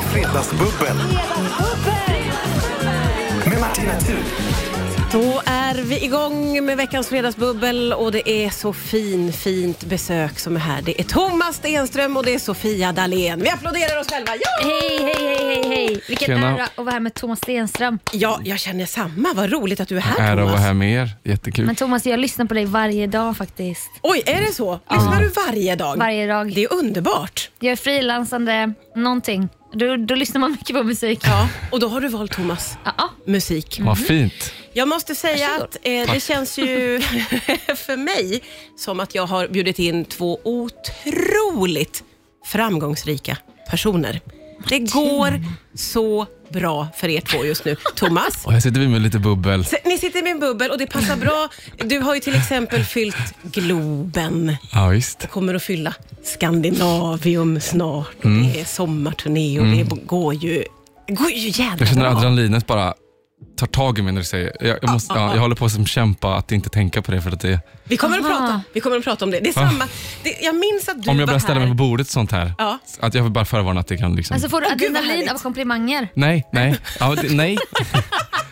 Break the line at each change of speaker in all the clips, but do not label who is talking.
Fredagsbubbel med Martina Thun.
Då är vi igång med veckans fredagsbubbel och det är så fin, fint besök som är här. Det är Thomas Stenström och det är Sofia Dalén. Vi applåderar oss själva. Ja!
Hej, hej, hej, hej, hej. Vilken
Tjena.
ära att vara här med Thomas Stenström.
ja, jag känner samma. Vad roligt att du är här
Ära att vara
Thomas.
här med er. Jättekul.
Men Thomas, jag lyssnar på dig varje dag faktiskt.
Oj, är det så? Lyssnar du varje dag?
Varje dag.
Det är underbart.
Jag är frilansande, någonting. Då, då lyssnar man mycket på musik.
Ja, och då har du valt Thomas
Ja, ja.
musik.
Vad fint.
Jag måste säga
Varsågod.
att eh, det känns ju för mig som att jag har bjudit in två otroligt framgångsrika personer. Det går så bra för er två just nu. Thomas,
Och här sitter vi med lite bubbel.
se- ni sitter med en bubbel och det passar bra. Du har ju till exempel fyllt Globen,
Ja, visst.
kommer att fylla Skandinavium snart. och Det är sommarturné och det b- går ju, går ju jädra
Jag känner
bra.
adrenalinet bara tar tag i mig när du säger jag, jag, måste, ja, jag håller på att som kämpa att inte tänka på det. För att det
Vi kommer, att
Aha.
prata, vi kommer att prata om det. Det är
Ah.
samma. Det, jag minns att du
om jag
var
börjar ställa
här.
mig på bordet sånt här.
Ja.
Att jag vill bara förvarna att det kan liksom...
Alltså får du
Åh, gud, vad
adrenalin
härligt.
av komplimanger?
Nej, nej. Ja, det, nej.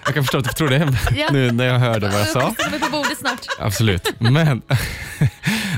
Jag kan förstå att du tror det
Ja.
nu när jag hörde vad jag sa.
Vi är på bordet snart.
Absolut. Men,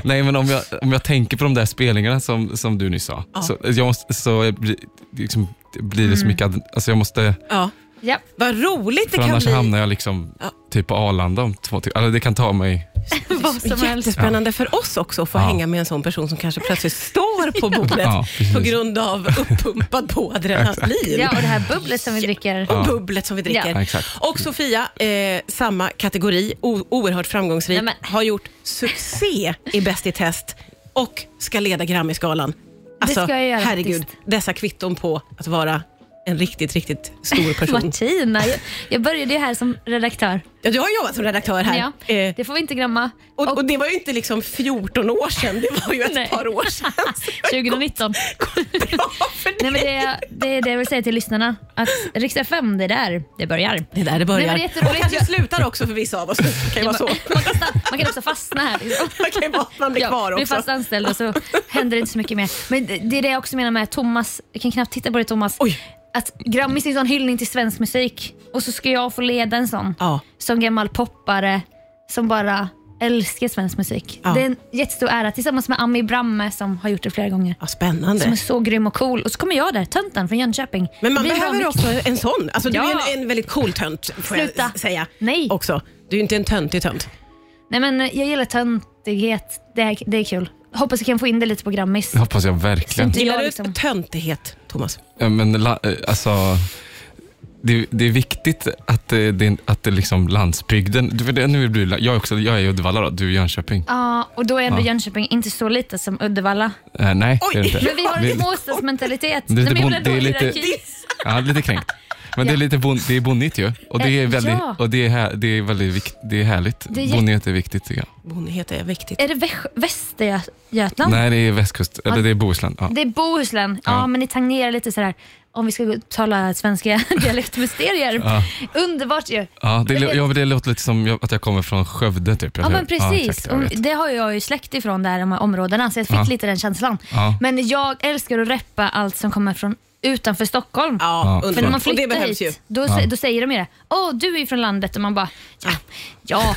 nej, men om, jag, om jag tänker på de där spelningarna som, som du nyss sa, så, jag måste, så jag blir, liksom, blir
Mm.
det så mycket... ad- Alltså jag måste...
Ja.
Ja.
Vad roligt det
För
kan
annars
bli.
hamnar jag liksom
Ja.
typ på Arlanda om två timmar. Alltså, det kan ta mig...
Vad som helst.
Jättespännande för oss också att få
Ja.
hänga med en sån person som kanske plötsligt står på bordet
Ja, precis.
på grund av uppumpad på adrenalin.
ja, och det här bubblet som vi dricker.
Och bubblet som vi dricker.
Ja,
exakt.
Och Sofia, eh, samma kategori, o- oerhört framgångsrik,
Nej, men-
har gjort succé i Bäst i test och ska leda Grammyskalan. Alltså,
ska jag göra
herregud,
faktiskt.
dessa kvitton på att vara en riktigt, riktigt stor person.
Martina, jag, jag började ju här som redaktör.
ja, du har jobbat som redaktör här.
Ja,
Eh,
det får vi inte glömma.
Och, och det var ju inte liksom 14 år sedan, det var ju ett
Nej.
par år sedan. Så det har
2019.
gått bra för dig.
Nej, men det, det är det jag vill säga till lyssnarna. Att Rix FM, det är där det börjar.
Det är där det börjar.
Nej, men det är jätteroligt.
och kanske
Jag-
slutar också för vissa av oss. Det kan ju vara så.
Man kan, stanna, man kan också fastna här. Liksom.
Det kan ju vara att man blir kvar
blir
också.
fast anställd och så händer det inte så mycket mer. Men det- det är det jag också menar med Thomas, jag kan knappt titta på det Thomas.
Oj.
Att Grammis är en sån hyllning till svensk musik och så ska jag få leda en sån.
Ja.
Som gammal poppare som bara älskar svensk musik.
Ja.
Det är en jättestor ära tillsammans med Ami Bramme som har gjort det flera gånger.
Ja,
Som är
spännande.
så grym och cool. Och så kommer jag där, tönten från Jönköping.
Men man
Det blir en bra
behöver
mix.
också en sån. Alltså, Du
Ja.
är en, en väldigt cool tönt, får
Sluta.
jag säga.
Nej.
Också. Du är inte en töntig tönt.
Nej men eh, jag gillar töntighet. Det är, det är kul. Hoppas jag kan få in det lite på Grammis.
Det hoppas jag verkligen.
Det är
Gillar
jag
du
liksom.
töntighet, Thomas?
Ja, Men la- eh, alltså... Det, det är viktigt att det, det, är- att det liksom landsbygden... För det, nu blir, det- jag, är också, jag är i Uddevalla då, du är i Jönköping.
Ja, och då är ändå Jönköping inte så lite som Uddevalla.
Eh, nej, det är det inte.
Men vi har
Det-
en småstadsmentalitet.
Det är lite
Nej, men
bon-
jag blir
det är
ändå
lite-
hierarki.
Ja, lite kränkt. Men det är lite bon, det är bonnigt ju. Och det är
Eh,
väldigt,
ja.
och det är, här, det är väldigt vikt, det är härligt.
Det är jätte-
Bonnighet är viktigt tycker jag.
Bonnighet är viktigt.
Är det Väst- Västergötland?
Nej, det är västkust, eller det är Bohuslän. Ja.
Det är Bohuslän. Ja,
Ja.
men ni tangerar lite sådär, om vi ska gå- tala svenska dialektmysterier. Underbart ju.
Ja, det, lå- ja, det låter lite som jag- att jag kommer från Skövde. Typ.
Ja,
Eller-
men precis.
exakt, jag
Och
vet.
det har jag ju släkt ifrån, där, de här områdena, så jag fick
Ja.
lite den känslan.
Ja.
Men jag älskar att reppa allt som kommer från utanför Stockholm.
Ja,
Ja.
För när man
underbart. Och det
flyttar
behövs
hit,
ju.
då, sä- då säger de ju det. Åh, du är ju från landet. Och man bara, ja. ja.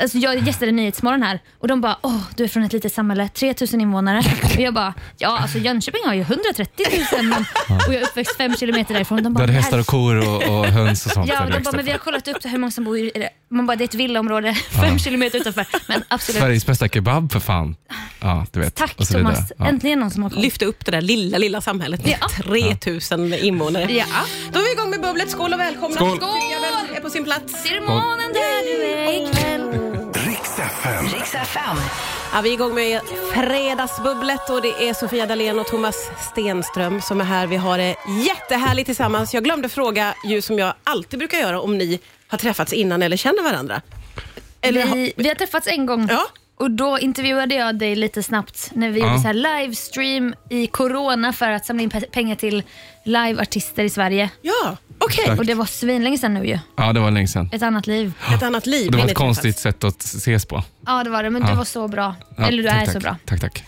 Alltså, jag gästade Nyhetsmorgon här och de bara, åh, du är från ett litet samhälle, 3000 invånare. Och jag bara, ja, alltså Jönköping har ju 130 000 men, och jag är uppväxt fem kilometer därifrån. De
Du
bara,
hade hästar och
"Herre-"
kor och, och höns och sånt.
Ja,
där du
de
växte
bara, men
upp.
vi har kollat upp hur många som bor i det. Man bara, det är ett villaområde fem kilometer utanför. Men absolut.
Sveriges bästa kebab för fan. Ja, du vet.
Tack
och så vidare.
Thomas.
Ja.
Äntligen någon som har koll.
Lyfta upp det där lilla, lilla samhället med
Ja.
3000 invånare.
Ja.
Då är vi igång med bubblet. Skål och välkomna.
Skål.
Tycker jag väl är på sin plats.
Ser du månen där du är ikväll?
Riks FM.
Ja, vi är igång med Fredagsbubblet och det är Sofia Dalén och Thomas Stenström som är här. Vi har det jättehärligt tillsammans. Jag glömde fråga ju som jag alltid brukar göra om ni har träffats innan eller känner varandra. Eller,
vi, vi har träffats en gång
Ja.
och då intervjuade jag dig lite snabbt när vi
Ja.
gjorde så här livestream i corona för att samla in pe- pengar till liveartister i Sverige.
Ja, okej.
Tack.
Och det var svinlänge sedan nu ju.
ja, det var länge sedan.
Ett annat liv.
Ett annat liv.
Det var
när ni
ett konstigt
träffas.
sätt att ses på.
Ja det var det, men du var så bra.
Ja,
Eller du
tack,
är
tack.
så bra.
Tack, tack.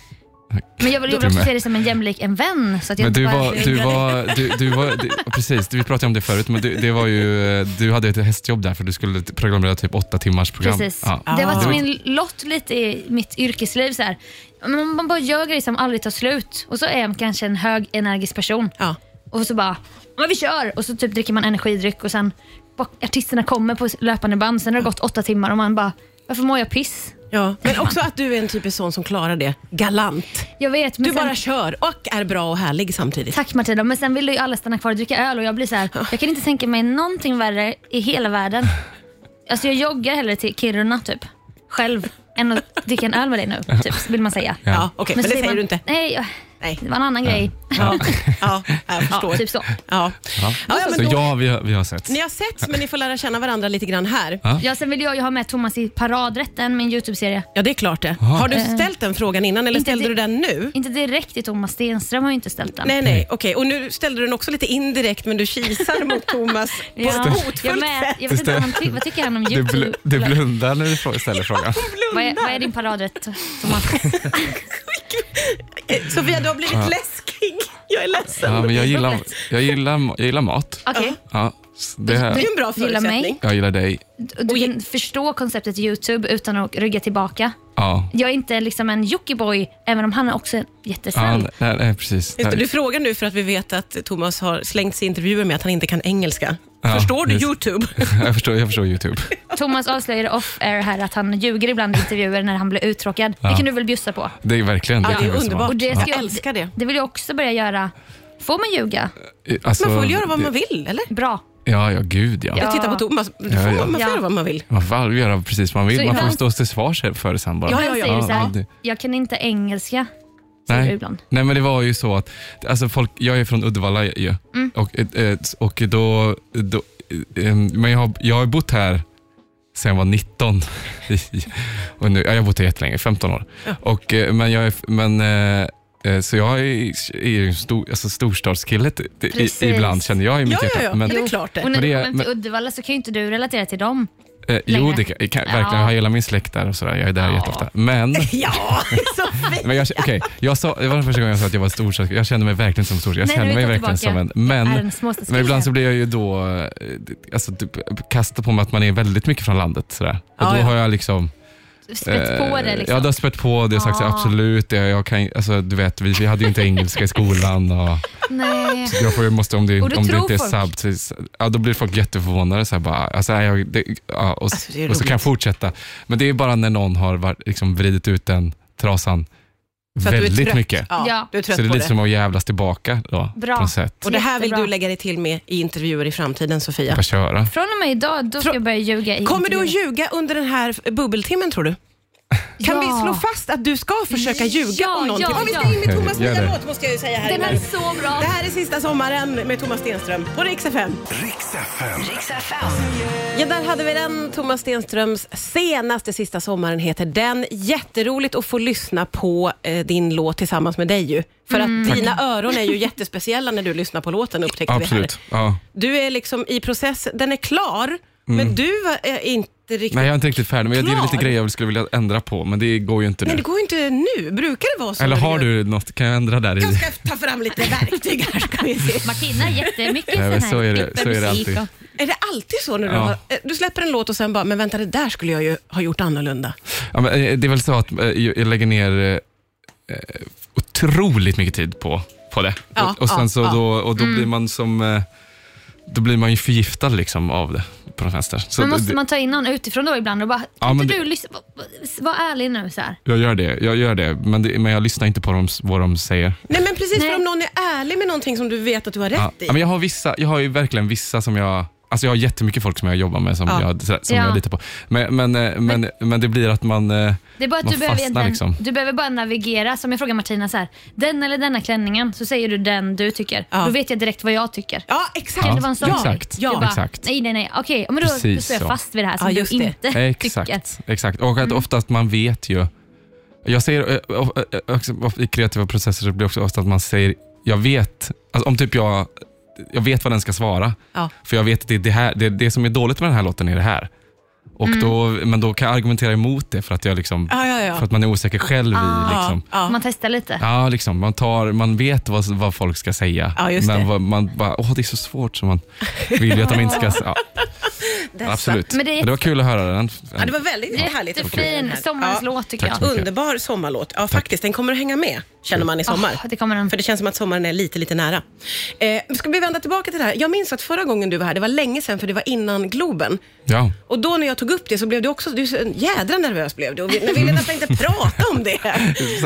Men jag vill, jag vill
Du
också
med.
se dig som en jämlik en vän. Så att jag
Men
inte
du
bara-
var, du var, du, du var du, precis, vi pratade om det förut, men du, det var ju, eh, du hade ett hästjobb där för du skulle programmera typ åtta timmars program.
Precis.
Ja.
Det har varit
Ah.
min lott lite i mitt yrkesliv. Så här. Man, man bara gör grejer som aldrig tar slut. Och så är man kanske en hög energisk person.
Ja.
Och så bara, men vi kör! Och så typ dricker man energidryck och sen bara, artisterna kommer på löpande band. Sen har det gått åtta timmar och man bara, varför mår jag piss?
Ja, men också att du är en typisk sån som klarar det galant.
Jag vet, men
Du
sen,
bara kör och är bra och härlig samtidigt.
Tack Martina, men sen vill ju alla stanna kvar och dricka öl och jag blir så här, jag kan inte tänka mig någonting värre i hela världen. Alltså jag joggar hellre till Kiruna typ, själv, än att dricka en öl med dig nu, typ, vill man säga.
Ja, okej, men det
så
säger
man,
du inte.
Nej, jag-
Nej.
det var en annan grej.
Ja, ja jag
Ja,
förstår.
typ så.
Ja.
Ja.
Ja, ja, men
så
då-
ja, vi har, vi har sett.
Ni har sett, men ni får lära känna varandra lite grann här.
Ja, sen vill jag ju ha med Thomas i Paradrätten, min YouTube-serie.
Ja, det är klart det. Har du ställt den frågan innan eller
Inte
ställde
det-
du den nu?
Inte direkt till Thomas Stenström har ju inte ställt den.
Nej, nej, okej. Och nu ställde du den också lite indirekt, men du kisar mot Thomas på ett
jag
hotfullt
med,
sätt.
jag vet inte vad, han ty- vad tycker han om
Du,
YouTube?
bl- du blundar när du frå- ställer frågan.
vad, är, vad är din paradrätt, Thomas?
Eh, Sofia, du har blivit läskig. Jag är ledsen.
Ja, men jag, gillar, jag, gillar, jag gillar mat.
Okej.
Ja, s- det,
Det är ju en bra
Gillar mig.
förutsättning.
jag gillar dig.
Och Du kan förstå konceptet YouTube utan att rygga tillbaka.
Ja,
Jag är inte liksom en Jockiboi, även om han är också
ja
jättesnäll.
nej, nej, precis.
Just det,
Nej.
Du frågar nu för att vi vet att Thomas har slängt sig i intervjuer med att han inte kan engelska.
Ja,
Förstår du
just-
Youtube?
Jag förstår, jag förstår Youtube.
Thomas avslöjade off-air här att han ljuger ibland i intervjuer när han blir uttråkad. Det kan du väl bjussa på?
Det är verkligen, det
Ja, det
kan
är
jag säga.
underbart.
Och det ska
jag
jag-
älskar det.
Det vill jag också börja göra. Får man ljuga?
Alltså,
Man får väl göra vad man vill, eller?
Bra.
Ja, ja, gud ja.
Ja.
Jag tittar på Thomas. Du får,
Ja, Mm, ja.
Man får
Ja.
göra vad man vill.
Man får aldrig göra precis vad man
Så
vill. Man får
ibland-
stå till svars för det sen bara.
Ja,
Han
ja,
säger så
Ja,
här,
det-
jag kan inte engelska. Säger du
Nej.
ibland.
Nej, men det var ju så att alltså folk, jag är från Uddevalla ju.
Mm.
Och, eh, och då, då, eh, men jag har, jag har bott här sedan jag var 19. I- och nu, ja, jag har bott här jättelänge, 15 år. Och, eh, men jag är, men, eh, eh, så jag är, är ju en stor, alltså storstadskille t- t-
Precis.
i, ibland känner jag i mitt
Ja, ja,
hjärta.
ja.
Men,
Det är klart det.
Och när
Men
du
det är-
kommer till
men-
Uddevalla så kan ju inte du relatera till dem.
eh, jo,
längre.
det kan, jag kan,
Ja.
verkligen. Jag har hela min släkt där och sådär. Jag är där
Ja.
jätteofta. Men
Ja, Sofia!
Men jag, okej, jag sa, det var den första gången jag sa att jag var storstad. Jag kände mig verkligen som storstad. Jag
Nej,
kände
nu
mig
tar jag
verkligen som
tillbaka.
en. Men,
Jag är en småstadskille.
men ibland så blir jag ju då, eh, alltså, typ, kastat på mig att man är väldigt mycket från landet. Sådär. Och
Ja,
då
ja.
har jag liksom...
Spett på
eh,
det
Ja, det
liksom.
har spett på det. Jag har sagt så, här,
Ah.
absolut, det, jag kan, alltså, du vet, vi, vi hade ju inte engelska i skolan. Och,
Nej.
jag får, ju- måste, om det,
Och då
om det
tror
inte är
folk.
subtitles, ja, då blir folk jätteförvånade. Så här, bara, alltså, nej, jag, det, ja, och, s-
Alltså, det är
och så kan jag
roligt.
fortsätta. Men det är bara när någon har varit, liksom, vridit ut den trasan
Så att du är
väldigt
trött.
mycket.
Ja,
Ja.
du är trött
Så det är
på
lite
det.
som att jävlas tillbaka då,
Bra.
på något sätt.
Och det här vill
Jättebra.
du lägga dig till med i intervjuer i framtiden, Sofia.
Bara köra.
Från och med idag då ska jag börja ljuga. I
Kommer du att
intervjuer.
ljuga under den här eh, bubbeltimmen, tror du? Kan
Ja.
vi slå fast att du ska försöka ljuga
Ja,
om någonting?
ja,
Om vi ska
ja.
in med Thomas
Gör
nya
det.
låt, måste jag ju säga här
Den
innan.
är så bra.
Det här är sista sommaren med Thomas Stenström på Rix FM.
Riks FM.
Ja, där hade vi den. Thomas Stenströms senaste Sista sommaren heter den. Jätteroligt att få lyssna på eh, din låt tillsammans med dig ju. För att dina öron är ju jättespeciella när du lyssnar på låten upptäckte vi här.
Absolut. Ja.
Du är liksom i process, den är klar, men du är inte riktigt...
Mm. Nej, jag är inte riktigt färdig, men jag gillar lite
Klar.
grejer jag skulle vilja ändra på, men det går ju inte
Men
nu.
det går ju inte nu, brukar det vara så?
Eller har
när gör-
du något? Kan jag ändra där? i?
Jag ska ta fram lite verktyg här ska vi se.
Martina har jättemycket
Nej, men
sån här
så är det-
klipp
så är det
musik
alltid.
och-
Är det alltid så när du,
Ja.
har, eh, du släpper en låt och sen bara, men vänta det där skulle jag ju ha gjort annorlunda.
Ja, men, eh, det är väl så att eh, jag lägger ner eh, eh, otroligt mycket tid på, på det.
Ja,
och, och sen
ja,
så
ja.
då, och
Mm.
då blir man som... eh, Då blir man ju förgiftad liksom av det på något vänster. Så
Men
det-
måste man ta in någon utifrån då ibland och bara,
Ja,
kan
men
inte
det-
du lyssna, var, var ärlig nu så här.
Jag gör det, jag gör det. Men, det, men jag lyssnar inte på dem, vad de säger.
Nej men precis, för
Nej.
om någon är ärlig med någonting som du vet att du har
Ja.
rätt i.
Ja, men jag, har vissa, jag har ju verkligen vissa som jag... Alltså jag har jättemycket folk som jag jobbar med som,
Ja.
jag, så- som
Ja.
jag litar på. Men, men, eh, men, men det blir att man... eh,
Det är bara att
Man
du behöver,
fastnar
egentligen-
liksom.
du behöver bara navigera, som jag frågar Martina så här, den eller denna klänningen, så säger du den du tycker.
Ja.
Då vet jag direkt vad jag tycker.
Ja, exakt.
Kan det vara en sån
Ja,
grej?
exakt.
Du
Ja.
bara,
Exakt.
Nej, nej, nej. Okej, men då, då
Precis
står jag
så.
fast vid det här som
Ja,
du
just det.
inte tycker.
Exakt, exakt. Och
Mm.
att oftast man vet ju. Jag säger, eh, of- eh, också, of- I kreativa processer så blir det också ofta att man säger, jag vet, alltså om typ jag, jag vet vad den ska svara.
Ja.
För jag vet att det, är det, här, det, det som är dåligt med den här låten är det här. Och Och då, men då kan jag argumentera emot det för att, jag liksom,
Mm. Ja, ja, ja.
För att man är osäker själv.
Ah.
I, liksom.
Ja.
Man testar lite.
Ja, liksom, man, tar, man vet vad, vad folk ska säga,
Ja, just det.
men vad, man bara, åh det är så svårt som man vill ju att de inte ska... Ja, absolut.
Men
Men
det
det,
är
var kul att höra den.
Ja, det var väldigt härligt. att få den
Jättefin
här.
sommarlåt tycker
Tack
jag.
så mycket.
Underbar sommarlåt. Ja, faktiskt. Den kommer att hänga med, känner man i sommar.
Ah, det kommer den.
För det känns som att sommaren är lite, lite nära. Eh, ska vi vända tillbaka till det här? Jag minns att förra gången du var här, det var länge sedan för det var innan Globen.
Ja.
Och då när jag tog upp det så blev du också, du, så- jädra nervös blev du. Och vi, men ville nästan inte prata om det.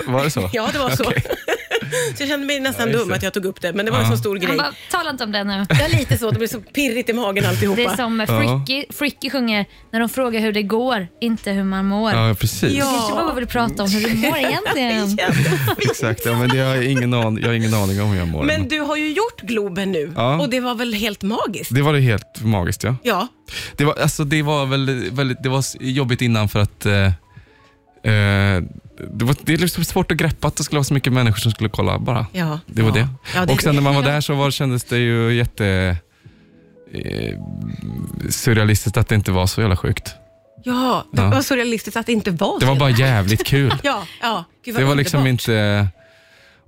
Var det så?
Ja, det var så.
Okej.
så jag kände mig nästan
Ja, just
dum
det.
att jag tog upp det, men det var en
Ja.
så stor
Han
grej.
bara, tala inte om det nu.
Ja, lite så. Det blev så pirrigt i magen alltihopa.
Det är som Fricky, Fricky sjunger när de frågar hur det går, inte hur man mår.
Ja, precis.
Ja.
Du kanske bara vill prata om hur du mår egentligen.
Exakt, ja, men det har jag, ingen aning, jag har ingen aning om hur jag mår.
Men du har ju gjort Globen nu
Ja.
och det var väl helt magiskt?
Det var det helt magiskt, ja.
Ja.
Det var, alltså, det var, väldigt, väldigt, det var s- jobbigt innan för att eh, eh, det, var, det är liksom svårt att greppa att det skulle vara så mycket människor som skulle kolla bara.
ja.
Det var
ja.
det.
Ja, det
Och sen när man var där så var, kändes det ju jätte eh, surrealistiskt att det inte var så jävla sjukt.
Ja, det
Ja.
var surrealistiskt att det inte var
Det var
så.
bara jävligt kul.
Ja, ja. Gud, vad
Det var liksom
underbart.
inte...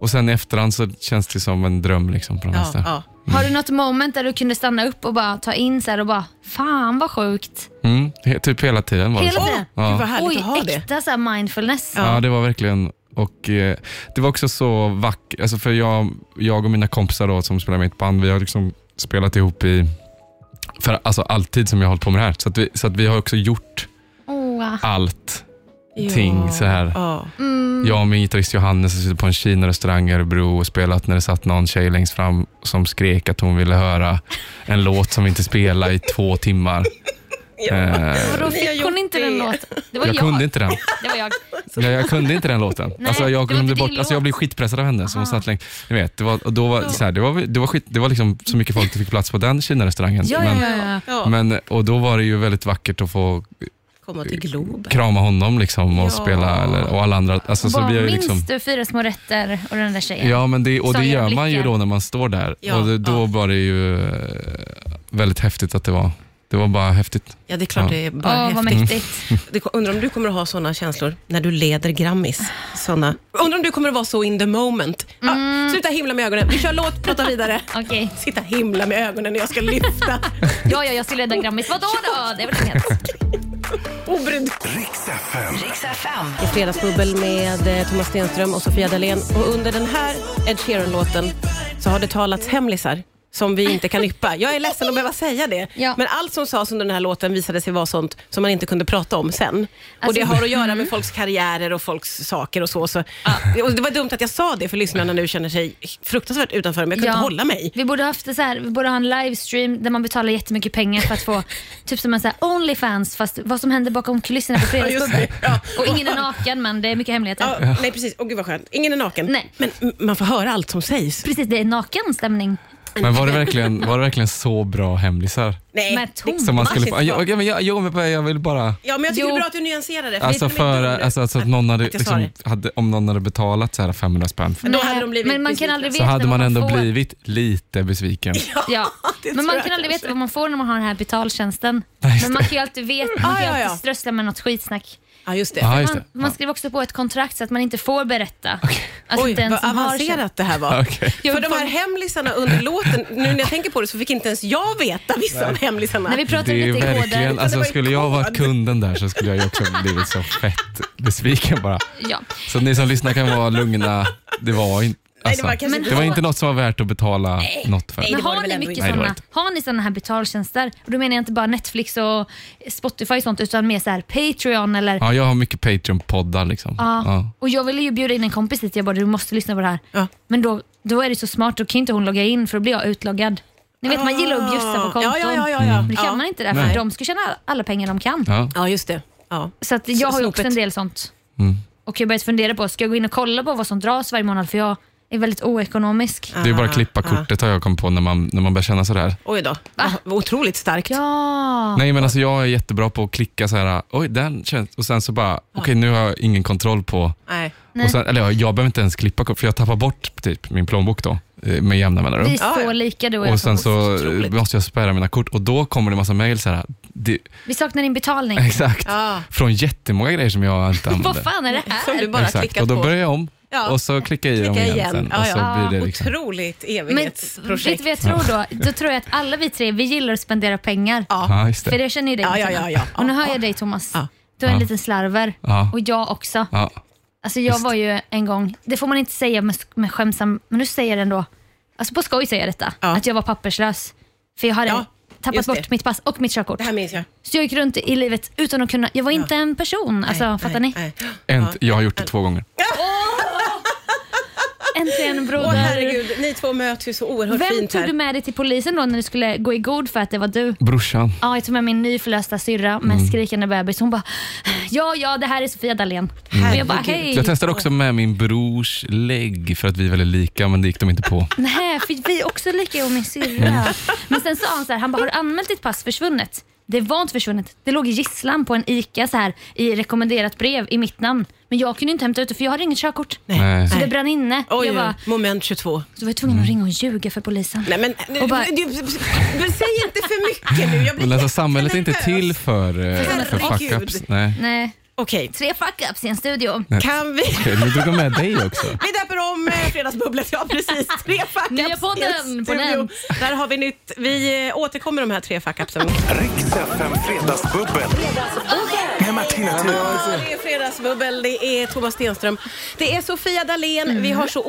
Och sen i efterhand så känns det som en dröm liksom på de
Ja,
mesta.
ja.
Har du något moment där du kunde stanna upp och bara ta in så här och bara, fan vad sjukt.
Mm, he- typ hela tiden var det
Hela
så.
tiden.
Ja.
Gud vad härligt
Oj,
att ha det.
äkta så här mindfulness.
Ja.
Ja, det var verkligen. Och eh, Det var också så vackert, alltså för jag, jag och mina kompisar då, som spelar med i ett band, vi har liksom spelat ihop i för alltså alltid som jag har hållit på med det här. Så att vi, så att vi har också gjort
Åh.
allt. ting så här.
Ja.
mm.
Mm.
Jag och min gitarrist Johannes har suttit på en Kina-restaurang i Örebro och spelat när det satt någon tjej längst fram som skrek att hon ville höra en låt som vi inte spelade i två timmar.
Då
Eh,
Ni har
fick
gjort
hon inte
det.
den låten. Det var jag.
jag kunde inte den.
Det var jag.
Nej, jag kunde inte den låten.
Nej,
alltså, jag,
det var
glömde
inte din
bort, alltså, jag blev skitpressad av henne. Så hon satt längst, ni vet, det var, och då var, så här, det var, det var, skit, det var liksom så mycket folk det fick plats på den Kina-restaurangen.
Ja, ja,
men,
ja, ja.
Ja.
men, och då var det ju väldigt vackert att få
Komma till Globen.
krama honom liksom, och
Ja.
spela eller, och alla andra. Alltså, så
Bara,
vi har ju
minns
liksom,
du fyra små rätter och den där tjejen?
ja, men det, och det
Sorgliga
gör man ju
blickar.
då när man står där.
Ja,
och det, då
ja.
var det ju eh, väldigt häftigt att det var. Det var bara häftigt.
Ja, det är klart
Ja.
det är bara
Åh, vad
häftigt.
mäktigt.
Det, undrar om du kommer att ha såna känslor när du leder Grammis? Såna. Undrar om du kommer att vara så in the moment? Ja, sluta himla med ögonen. Vi kör låt, prata vidare.
Okej.
Sitta himla med ögonen när jag ska lyfta.
Ja, ja, jag ska rädda Grammis. Vadå då? Det är väl inget.
Obrydd.
Riks FM.
Riks FM.
I Fredagsbubbel med eh, Thomas Stenström och Sofia Dalén. Och under den här Ed Sheeran-låten så har det talats hemlisar som vi inte kan yppa. Jag är ledsen att behöva säga det,
Ja.
men allt som sades under den här låten visade sig vara sånt som man inte kunde prata om sen. och
Alltså-
Det har att göra med folks karriärer och folks saker och så. så. Och det var dumt att jag sa det, för lyssnarna nu känner sig fruktansvärt utanför, men jag kunde inte hålla mig.
Vi borde, haft det så här, vi borde ha en livestream där man betalar jättemycket pengar för att få typ som en så här Onlyfans fast vad som händer bakom kulisserna på
just
Fredagsbubblan.
det. Ja.
Och ingen är naken men det är mycket hemligheter.
Ja, Nej, precis. Åh, gud vad skönt. Ingen är naken.
Nej.
Men mm, man får höra allt som sägs.
Precis, det är naken stämning.
Men var det verkligen, var det verkligen så bra hemlisar?
Nej.
Med tom.
Som man skulle få,
Varsitt
ja, okej, men jag, jag, men jag vill bara...
Ja, men jag tycker
Jo.
det är bra att du nyanserar det. för
Alltså,
det är
för,
inte roligt
alltså, alltså att någon hade,
att jag sa
liksom, hade, om någon hade betalat så här 500 spänn för,
Men då hade de blivit
men man kan
besvikna.
aldrig
så
veta
hade
vad
man ändå
får.
blivit lite besviken.
Ja.
det
Men
tror
man
jag
kan aldrig
kanske.
veta vad man får när man har den här betaltjänsten.
just
Men man kan ju alltid veta, man kan ju
Ah, ja, ja.
alltid strössla med något skitsnack.
Ja, just det.
Ja, just
Man,
det.
man skriver också på ett kontrakt så att man inte får berätta. Alltså
Oj,
inte ens
vad
som har
avancerat det här var.
Okej.
Jag
För
vill
de här
fan-
hemlisarna under låten, nu när jag tänker på det så fick inte ens jag veta vissa av hemlisarna.
När vi pratade
Det är
lite i
verkligen,
koder.
liksom. det
alltså,
var ju
skulle jag varit
kod.
kunden där så skulle jag ju också blivit så fett besviken bara.
Ja.
Så att ni som lyssnar kan vara lugna. Det var, in, alltså,
var kanske
det,
inte
var
så.
inte något som var värt att betala något för.
Nej,
Men
det var det
har
väl
ni,
ändå
mycket
inte.
Nej, det var
såna, har ni såna här betaltjänster? Och då menar jag inte bara Netflix och Spotify och sånt utan mer så här Patreon eller
Ja, jag har mycket Patreon-poddar liksom.
Ja.
Ja.
Och jag ville ju bjuda in en kompis hit, jag bara du måste lyssna på det här.
Ja.
Men då, då är det så smart, då kan inte hon logga in för då blir jag utloggad. Ni vet man gillar att bjussa på
Ah. Ja,
konton.
ja, ja, ja, ja.
Men det kan
Ja.
man inte där för
Mm. Nej.
de ska tjäna alla pengar de kan.
Ja.
Ja, just det. Ja.
Så att jag har ju också
Snopet.
en del sånt.
Mm.
Och jag har börjat fundera på, ska jag gå in och kolla på vad som dras varje månad för jag är väldigt oekonomisk.
Det är bara att
Ah.
klippa kortet har jag kommit på när man, när man börjar känna sådär.
Oj då. Vad Otroligt starkt.
Ja,
Nej men alltså jag är jättebra på att klicka så här, oj den känns, och sen så bara, okej nu har jag ingen kontroll på,
Nej.
och sen, eller jag, jag behöver inte ens klippa, för jag tappar bort typ min plånbok då. eh, med jämna mellanrum.
Vi är
Ja,
så
ja.
lika du och jag.
Och sen
Pontus.
så
otroligt.
måste jag spärra mina kort och då kommer det massa mejl. så här, det-
Vi saknar din betalning.
Exakt.
Ja.
Från jättemånga grejer som jag inte använder.
Vad fan är det här?
Som du bara
Exakt.
klickat
Och då
på.
börjar jag om
Ja.
och så klickar jag i dem
Klicka
igen,
igen.
sen.
Ja,
och så
ja.
blir det liksom.
Otroligt
Men vet
evighetsprojekt.
du vad jag tror då? Då tror jag att alla vi tre, vi gillar att spendera pengar.
Ja, just
För
det.
det känner ju dig
Ja,
Martina.
ja, ja, ja.
Och nu
Ja,
hör
ja.
jag dig Thomas.
Ja.
Du är en
Ja.
liten slarver.
Ja.
Och jag också.
Ja.
Alltså jag
Visst.
var ju en gång, det får man inte säga med, med skämsam, men nu säger jag det ändå. Alltså på skoj säger jag detta,
Ja.
att jag var papperslös. För jag hade
Ja,
tappat
just det.
bort mitt pass och mitt körkort.
Det här minns jag.
Så jag gick runt i livet utan att kunna, jag var inte en person. Alltså
Nej,
fattar
nej,
ni?
nej.
En, jag har gjort det två gånger.
Äntligen
Åh
broder.
herregud, ni två möts ju så oerhört
Vem
fint
tog
här.
du med dig till polisen då när du skulle gå i god för att det var du?
Brorsan.
Ja, jag tog med min nyförlösta syrra med skrikande bebis. Hon bara, ja ja det här är Sofia Dalén. Och jag bara,
Herregud.
hej.
Jag testade också med min brors lägg för att vi är väldigt lika, men det gick de inte på.
Nej, för vi är också lika jag och min syrra. Men sen sa han så här, han bara, har du anmält ditt pass försvunnet? Det var inte försvunnet. Det låg i gisslan på en ICA så här, i rekommenderat brev i mitt namn. Men jag kunde inte hämta ut det för jag hade inget körkort.
Nej.
Så det brann inne.
Oj,
jag bara,
oj, moment 22.
så var jag tvungen att ringa och ljuga för polisen.
Nej men, nu-
bara-
du, men säg inte för mycket nu. Jag blir
Men alltså, samhället är inte
jättenervös.
till för, eh, för
Herregud.
fuck-ups. Nej.
Nej,
Okej,
tre fuck-ups i en studio.
kan vi...
Okej, Nu drog de med dig också.
Vi döper om eh, Fredagsbubblet, ja precis. Tre fuck-ups
Nya podden,
i en
på
studio.
den.
Där har vi nytt. Vi eh, återkommer de här tre fuck-upsen.
Riks FM Fredagsbubbel. Med Martina Thun.
Det är Fredagsbubbel, det är Thomas Stenström, det är Sofia Dalén. Vi
Mm.
har så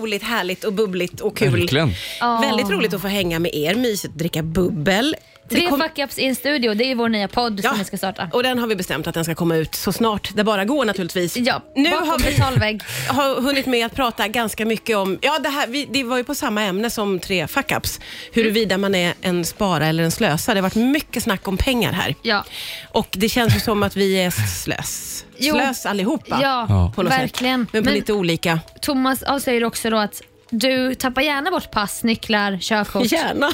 otroligt härligt och bubbligt och kul.
Verkligen.
Ja.
Väldigt roligt att få hänga med er, mysigt att dricka bubbel. Det
Tre
kom-
fuck-ups i en studio, det är vår nya podd som vi ska starta.
Och den har vi bestämt att den ska komma ut så snart det bara går naturligtvis.
Ja,
nu
bakom
har vi
betalvägg.
har hunnit med att prata ganska mycket om, ja det, här, vi, det var ju på samma ämne som tre fuck-ups, huruvida man är en spara eller en slösa. Det har varit mycket snack om pengar här.
Ja.
Och det känns ju som att vi är slös.
Jo.
Slös allihopa.
Ja,
på något
verkligen.
Sätt. Men på
Men-
lite olika.
Thomas avslöjar också då att du tappar gärna bort pass, nycklar, körkort.
Gärna.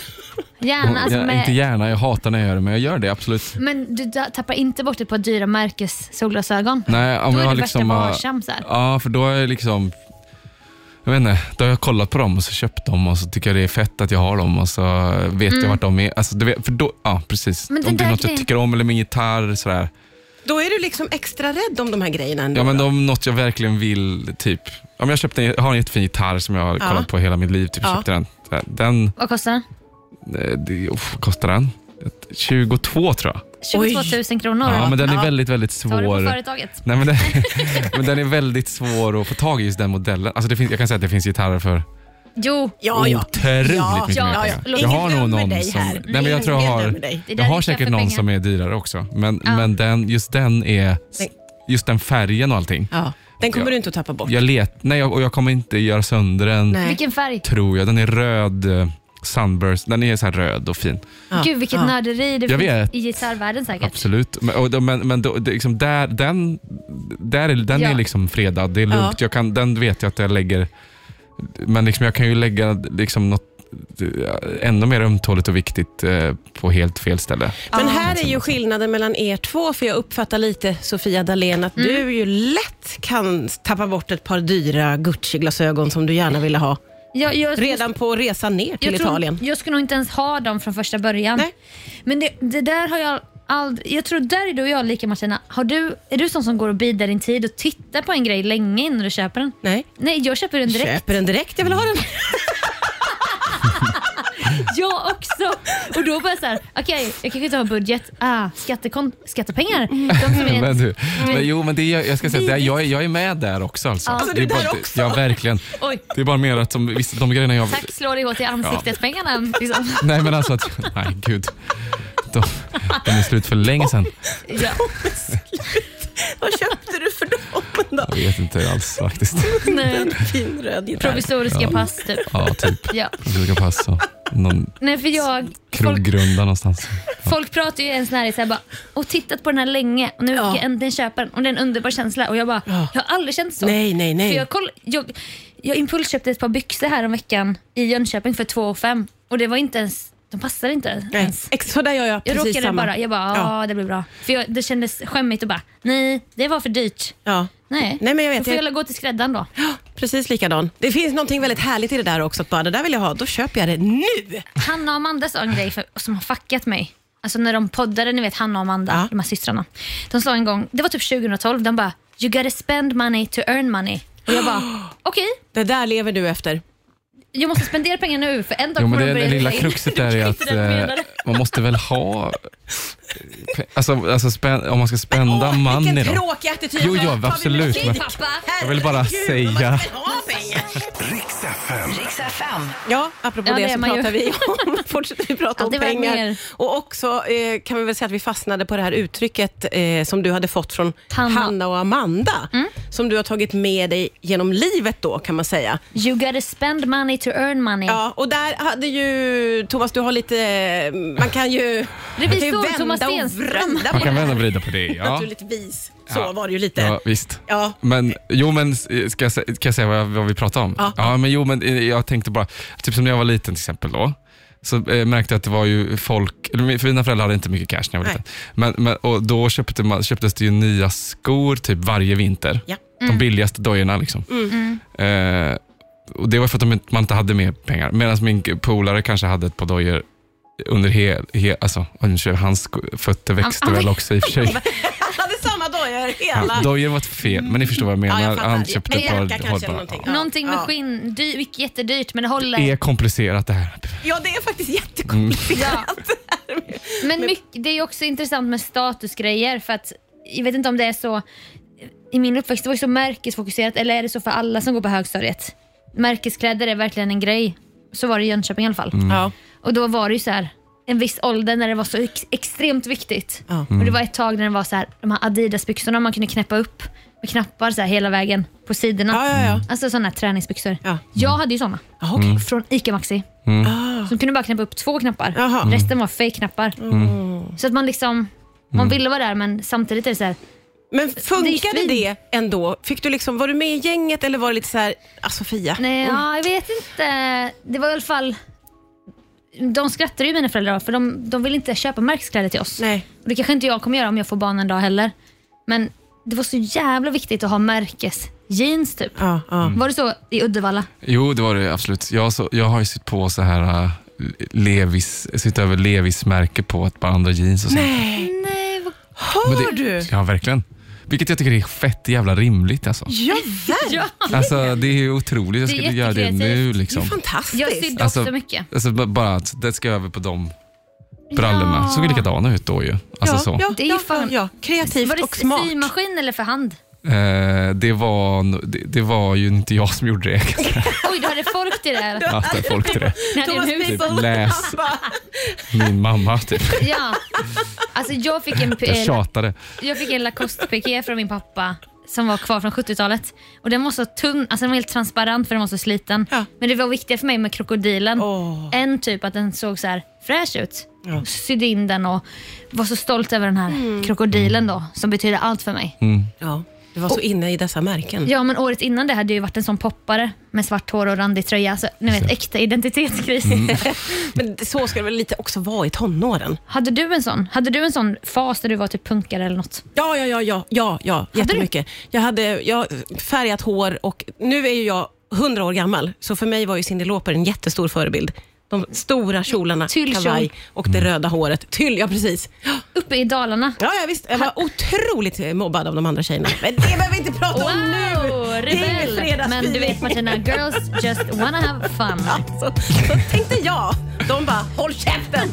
Gärna, alltså
Jag-
med-
Inte gärna, jag hatar när jag gör det, men jag gör det absolut.
Men du da- tappar inte bort ett par dyra märkes solglasögon?
Nej,
Då är
om jag
du
har
värsta
liksom, bara-
varsam så här.
Ja, för då är jag liksom... Jag vet inte, då har jag kollat på dem och så köpt dem och så tycker jag det är fett att jag har dem och så vet jag vart de är. Alltså, du vet, för då, ja, precis.
Mm. Men den
om det
där
är något
grejen-
jag tycker om eller min gitarr sådär.
Då är du liksom extra rädd om de här grejerna ändå.
Ja, men de, något jag verkligen vill, typ. Om jag, köpte en, jag har en jättefin gitarr som jag har
Ja.
kollat på hela mitt liv. Typ,
Ja.
köpte den. Såhär, den
Vad kostar den?
eh, det, uff, vad kostar den? 22 tror jag.
22 000 kronor.
Ja, men den är
Ja.
väldigt, väldigt
Tar du på
svår.
företaget?
Nej, men, den, men den är väldigt svår att få tag i, just den modellen. Alltså det finns, jag kan säga att det finns gitarrer för
Jo,
ja, ja.
otroligt
Ja,
mycket
ja,
mer
ja.
pengar.
Ingen
Jag har nog
dömer
någon
dig
som...
här.
Nej, men jag tror jag
Ingen
har,
dömer dig.
Det där
jag
är
har
kaffe
säkert
för
någon
pengar.
som är dyrare också. Men,
Ja.
men den, just den är... Just den färgen och allting.
Ja. Den kommer
Ja. Mm.
du inte att tappa bort.
Jag let, nej, jag- och jag kommer inte göra sönder den,
Nej.
vilken färg.
tror jag. Den är röd. eh, Sunburst. Den är så här röd och fin.
Ja.
Gud vilket
Ja.
nörderi det
Jag
finns
vet.
i gitarrvärlden säkert.
Absolut. Men, och, då- men, men då, det, liksom där, den, där är, den
Ja.
är liksom fredad. Det är
Ja.
lugnt. Jag kan, den vet jag att jag lägger... Men liksom, jag kan ju lägga liksom något ännu mer ömtåligt och viktigt eh, på helt fel ställe.
Men här är ju skillnaden mellan er två, för jag uppfattar lite Sofia Dalén att du
Mm.
ju lätt kan tappa bort ett par dyra Gucci-glasögon som du gärna ville ha.
Jag, jag,
Redan på resan ner till
jag, tror-
Italien.
jag skulle nog inte ens ha dem från första början.
Nej.
Men det, det där har jag aldrig... Jag tror där är du och jag lika Martina. Har du, är du sån som går och bidar din tid och tittar på en grej länge innan du köper den?
Nej.
Nej, jag köper den direkt.
Köper den direkt, jag vill ha den.
Jag också. Och då bara såhär, okej, jag kanske inte har budget. Ah, skattekon- skattepengar. De som är
Men
Mm.
du, men jo, men det är, jag ska säga, det är,
Vidrigt.
jag, är, jag är med där också. Alltså.
Alltså,
du är
bara,
där
det-
också.
Ja, verkligen.
Oj.
Det är bara mer att som, visst, de grejerna jag...
Tack slår dig åt i ansiktet pengarna. Liksom.
Nej, men alltså att... Nej, gud. De, de är slut för länge sedan.
Ja.
Vad köpte du för dem då?
Jag vet inte alls faktiskt.
Nej.
Fin röd gitarr.
Provisoriska pass typ.
Ja, typ.
Ja.
Jag ska passa. Någon
Nej, för jag, folk,
krogrunda någonstans.
folk pratar ju i ens närhet såhär bara, och tittat på den här länge och nu
Ja.
ska jag äntligen köpa den och det är en underbar känsla och jag bara,
Ja.
jag har aldrig känt så.
Nej, nej, nej.
För jag, koll, jag, jag impulsköpte ett par byxor här om veckan i Jönköping för 2 500 och det var inte ens de passar inte
Nej.
ens.
Ex- Så där gör jag
Jag
precis
råkade
samma.
bara, jag bara, ja det blir bra. För jag, det kändes skämmigt och bara, nej det var för dyrt.
Ja.
Nej,
Nej, men jag vet,
då får
jag-
jag, gå till skräddaren då.
Precis likadan. Det finns någonting väldigt härligt i det där också. Att bara, det där vill jag ha, då köper jag det nu.
Hanna och Amanda sa en grej för, som har fuckat mig. Alltså när de poddade, ni vet Hanna och Amanda,
Ja.
de här systrarna. De sa en gång, det var typ 2012, de bara “You gotta spend money to earn money”. Och jag bara “Okej,
Det där lever du efter.
jag måste spendera pengar nu för en dag
Jo, men
kommer
det,
de
det
börja
lilla
dra in."
kruxet där är
Det
att
inte det jag
eh,
menade.
man måste väl ha... Alltså, alltså spän, om man ska spända
Åh,
money
vilken
då.
tråkig attityd.
Jo, ja,
Tar vi
absolut,
musik?
men-
Pappa,
Jag vill bara
Gud, vad man
säga-
ska ha pengar.
Riks FM.
Riks FM.
Ja, apropå
Ja,
det,
det är
så
man ju.
pratar vi om, fortsätter vi prata
Ja,
om
det var
pengar.
mer.
Och också eh, kan vi väl säga att vi fastnade på det här uttrycket eh, som du hade fått från
Hanna. Mm.
Hanna och Amanda, som du har tagit med dig genom livet då kan man säga.
“You gotta spend money to earn money”.
Ja, och där hade ju Thomas, du har lite, man kan ju, man kan ju
Revisor
vända
Thomas
och
Stenström.
vrända på
Man kan
det.
vända och vrida på det. Ja.
Naturligtvis, så
Ja.
var det ju lite.
Ja, visst.
Ja.
Men, jo, men s- ska jag, sä- kan jag säga vad, jag, vad vi pratar om?
Ja.
men, jo, men eh, jag tänkte bara, typ som när jag var liten till exempel då, så eh, märkte jag att det var ju folk, eller min- för mina föräldrar hade inte mycket cash när jag var
Nej.
liten. Men, men, och då köpte man, köptes det ju nya skor typ varje vinter.
Ja. Mm.
De billigaste dojorna liksom. Eh, och det var för att de, inte- man inte hade mer pengar. Medan min polare kanske hade ett par dojor under hel, hel, alltså, och nu kör jag, hans sko- fötter växte
han-
väl också i och för sig.
Han hade samma dojor hela...
Ja, Dojer var ett fel, men ni förstår vad jag
Ja,
menar.
jag fattar.
Han köpte
Men
ett par
jacka kanske eller
hållbara.
någonting.
Ja.
Ja.
Någonting med
Ja.
skinn, dy, mycket jättedyrt men det håller.
Det är komplicerat det här.
Ja, det är faktiskt
Mm.
jättekomplicerat.
Men mycket, det är ju också intressant med statusgrejer för att jag vet inte om det är så i min uppväxt det var ju så märkesfokuserat eller är det så för alla som går på högstadiet? Märkeskläder är verkligen en grej. Så var det i Jönköping i alla fall.
Ja.
Och då var det ju så här en viss ålder när det var så ex- extremt viktigt.
Ja.
Och det var ett tag när det var så här de här Adidas-byxorna man kunde knäppa upp med knappar så här hela vägen på sidorna.
Ja, ja,
Mm.
ja.
Alltså sådana här träningsbyxor.
Ja.
Jag hade ju såna
Ja, okej.
från ICA Maxi.
Mm.
Som kunde bara knäppa upp två knappar.
Ah. Jaha. Mm.
Resten var fake-knappar. Så att man liksom,
Mm.
man ville vara där men samtidigt är det så här,
Men funkade
svin.
det ändå? Fick du liksom, var du med i gänget eller var det lite så här, ah, Sofia?
nej ja, jag vet inte. Det var i alla fall, de skrattade ju mina föräldrar för de, de vill inte köpa märkeskläder till oss.
Nej.
Och det kanske inte jag kommer göra om jag får barn en dag heller. Men det var så jävla viktigt att ha märkesjeans
Mm.
typ.
Ja, ja.
Var det så i Uddevalla?
Jo, det var det absolut. Jag, så, jag har ju sett på så här äh, Levis, sitt över Levis märke på ett par andra jeans och sånt.
Nej,
Nej, vad...
Men
hör
det,
du?
Ja, verkligen. Vilket jag tycker är fett jävla rimligt alltså.
Ja, verkligen.
ja.
Alltså det är ju otroligt. Jag
Det är
skulle göra det nu
jättekreativt.
Det är
liksom.
fantastiskt.
Jag sydde
Alltså-
också mycket.
Alltså b- bara att det ska över på de brallorna.
Ja.
Såg likadana ut då ju. Alltså
ja,
så.
Ja,
Det är ju
ja,
fan-
ja, kreativt
Var det
och smart.
symaskin eller för hand?
Eh, det, var, no- det, det var ju inte jag som gjorde det.
Oj, du hade folk till det. här.
Att det är folk till det.
Ni hade en
Thomas
hus.
Typ
Nilsson.
läs min mamma. Typ.
Ja. Alltså jag fick en,
Jag tjatade.
jag fick en Lacoste-piké från min pappa som var kvar från 70-talet. Och Den var så tunn, alltså den var helt transparent för den var så sliten.
Ja.
Men det var viktiga för mig med krokodilen.
Åh.
En typ att den såg så här fräsch ut.
Ja. Mm.
Och Sydde in den och var så stolt över den här krokodilen då, som betyder allt för mig.
Ja, du var så inne i dessa märken.
Ja, men året innan det hade jag ju varit en sån poppare med svart hår och randig tröja. Alltså, ni vet, äkta identitetskris.
Men det- så ska det väl lite också vara i tonåren?
Hade du en sån? Hade du en sån fas där du var typ punkare eller något?
Ja, ja, ja, ja, ja, ja jättemycket. Jag hade jag, färgat hår och nu är ju jag 100 år gammal, så för mig var ju Cyndi Lauper en jättestor förebild. De stora kjolarna,
Tyllkjol.
kavaj och det röda håret. Tyll, ja precis.
Uppe i Dalarna.
Ja, ja visst. Jag var otroligt eh, mobbad av de andra tjejerna. Men det behöver vi inte prata
Wow,
om nu. Det är ingen
rebell! Men du
fredagsfeeling.
vet Martina, girls just wanna have fun.
Så, så tänkte jag. De bara, håll käften!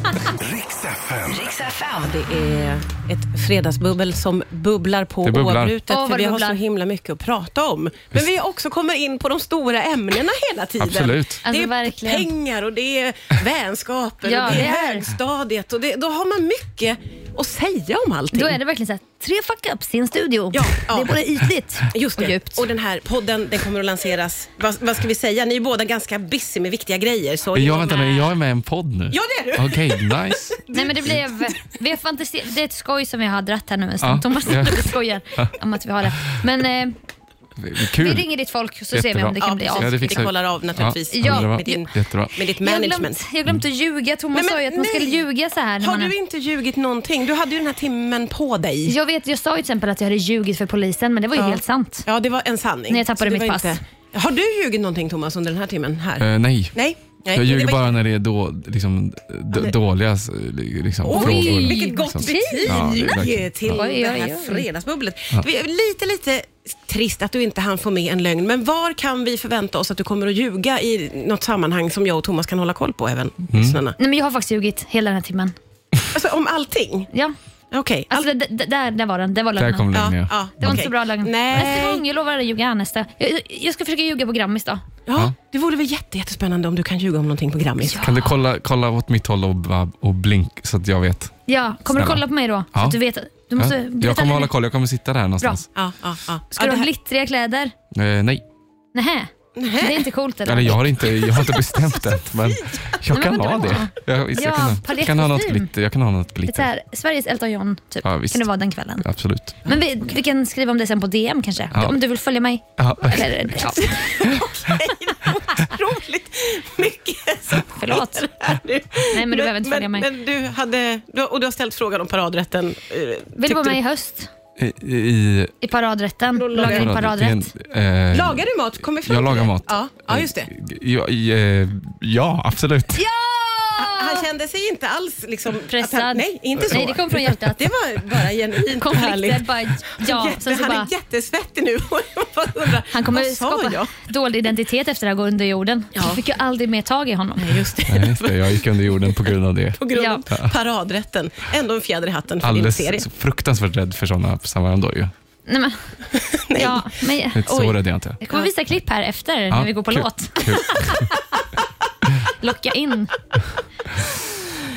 Riks FM.
Riks FM.
Det är ett fredagsbubbel som bubblar på
Det bubblar.
oavbrutet,
Åh, vad
för vi
det
har
bubblar.
så himla mycket att prata om. Men vi också kommer in på de stora ämnena hela tiden.
Absolut.
Det är
Alltså, verkligen.
pengar och det är vänskaper
Ja,
och det är
det är.
högstadiet. Och det, då har man mycket att säga om allting.
Då är det verkligen så här, tre fuck-ups i en studio.
Ja, ja.
Det är både ytligt
Just
och
det.
djupt.
Och den här podden den kommer att lanseras, vad, vad ska vi säga, ni är båda ganska busy med viktiga grejer. Så
Jag, vänta nu, jag är med i en podd nu.
Ja, det är du.
Okej, nice.
Nej men det blev, vi har fantiserat, det är ett skoj som vi har dratt här nu en
Ja,
stund. Thomas
ja.
ja. skojar om att vi har det. Men eh,
Kul.
Vi ringer ditt folk så ser vi
Jättebra.
om det kan
Ja,
bli
precis.
av.
Ja, det
vi
fixar vi.
kollar av naturligtvis
Ja.
Underbart.
med, din,
Jättebra.
med ditt
Jag har
management.
glömt, jag glömt att ljuga. Thomas
Nej, men
sa ju att man
nej.
skulle ljuga så här. när
Har
man är-
du inte ljugit någonting? Du hade ju den här timmen på dig.
Jag vet, jag sa ju till exempel att jag hade ljugit för polisen, men det var ju helt sant.
Ja, det var en sanning.
När jag tappade
Så det
mitt
var
pass.
Har du ljugit någonting Thomas under den här timmen här?
Eh, nej.
Nej. Nej.
Jag
men
ljuger
det var-
bara när det är då, liksom, d- dåliga s- liksom, frågor.
Oj, vilket gott
liksom.
betyg
Ja, det är verkligen-
till
ja.
det
Oj, oj,
här
oj.
fredagsbubblet. Det är Lite, lite trist att du inte hann få med en lögn, men var kan vi förvänta oss att du kommer att ljuga i något sammanhang som jag och Thomas kan hålla koll på även?
Mm.
lyssnarna?
Nej, men jag har faktiskt ljugit hela den här timmen.
Alltså om allting?
Ja.
Okej. Allt-
Alltså, d- d- där, där var den. Där var
Där
lögnen.
kom lögnen,
ja,
ja.
ja,
Det var
okej.
inte så bra lögn. Nästa
Nej.
gång, jag lovar att ljuga nästa. Jag, jag ska försöka ljuga på Grammis då.
Ja, det vore väl jätte, jättespännande om du kan ljuga om någonting på Grammis.
Kan du kolla, kolla åt mitt håll och, bara- och blink så att jag vet?
Ja, kommer du
Snälla.
kolla på mig då? Så
Ja.
att du vet. Du måste,
ja.
du vet
Jag kommer
aldrig-
hålla koll, jag kommer sitta där någonstans.
Ja, ja, ja.
Ska
ja,
du
det
ha
här-
glittriga kläder?
Eh, nej,
Nähä. Det är inte coolt eller?
eller jag har inte, jag har inte bestämt det. Men jag kan
vad
ha
bra.
det. Jag, jag,
Ja,
kan, jag kan ha något
palettkostym.
glitter. Jag kan ha något
Lite så
glitter.
här, Sveriges Elton John, typ.
Ja, visst.
Kan det vara den kvällen?
Absolut.
Men vi, vi kan skriva om det sen på DM kanske.
Ja.
Om du vill följa mig.
Ja.
Eller, ja,
Otroligt mycket som
förlåt.
här nu.
men du behöver inte följa
men,
mig.
Men du hade, du, och du har ställt frågan om paradrätten. eh,
Vill
tyckte
du vara med i höst?
I, i,
I paradrätten? Laga din paradrätt?
eh,
Lagar du mat? Kommer vi fram
Jag
till
lagar
det?
mat.
Ja, ja just det.
Ja, i, eh, ja, absolut.
Ja!
Han kände sig inte alls liksom,
Pressad.
Att han, Ah, nej, inte så.
Nej, det kom från hjärtat.
Det var bara genuint
Konflikter,
härligt.
bara ja.
Jätte,
Sen så
han
bara,
är jättesvettig nu. och jag bara undrar,
han kommer
vad sa
skapa
jag?
dålig identitet efter det här, gå under jorden.
Ja.
Jag fick ju aldrig mer tag i honom.
Just det.
Nej, just det, jag gick under jorden på grund av det.
På grund av paradrätten. Ändå en fjäder i hatten för din serie.
Alldeles fruktansvärt rädd för sådana sammanhang då ju.
Nej, men, Ja, men,
Ett Så
oj.
rädd är jag inte.
Jag kommer visa klipp här efter
Ja,
när vi går på
kul,
låt.
kul.
Locka in.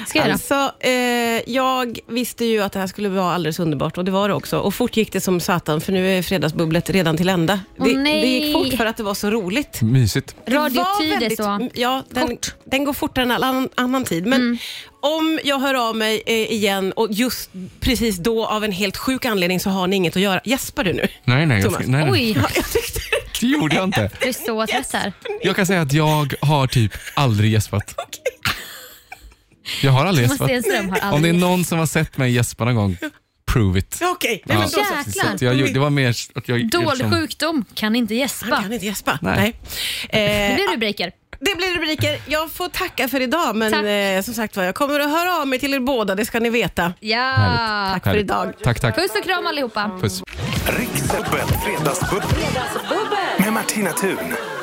Ska jag göra?
Alltså, eh, jag visste ju att det här skulle vara alldeles underbart och det var det också. Och fort gick det som satan för nu är fredagsbubblet redan till ända.
Åh,
det,
nej.
det gick fort för att det var så roligt.
Mysigt.
Det var
Radiotid är
väldigt- Mm,
så.
Ja, den, den går fortare än all annan, annan tid. Men
Mm.
om jag hör av mig eh, igen och just precis då av en helt sjuk anledning så har ni inget att göra. Gäspar du nu?
Nej, nej. Jag,
Thomas.
nej, nej.
Oj,
Ja, jag tyckte
Det gjorde jag inte.
du är så trött här.
Jag kan säga att jag har typ aldrig gäspat. Jag har aldrig
Thomas
gäspat.
Stenström har
Om det är
aldrig...
någon som har sett mig gäspa någon gång, prove it.
Okej, nej, men då
Ja.
så.
Jäklar.
Så att jag, gjorde- det var mer att jag...
Dold
eftersom-
sjukdom, kan inte
Liksom. Han
gäspa.
kan inte gäspa. Nej. Eh,
Nej.
Det blir rubriker.
Det blir rubriker. Jag får tacka för idag,
Tack.
men eh, som sagt var, jag kommer att höra av mig till er båda, det ska ni veta.
Ja.
Tack för
Härligt.
idag.
Tack, tack.
Puss och kram allihopa.
Puss.
Riks-FM Fredagsbubbel. Med Martina Thun.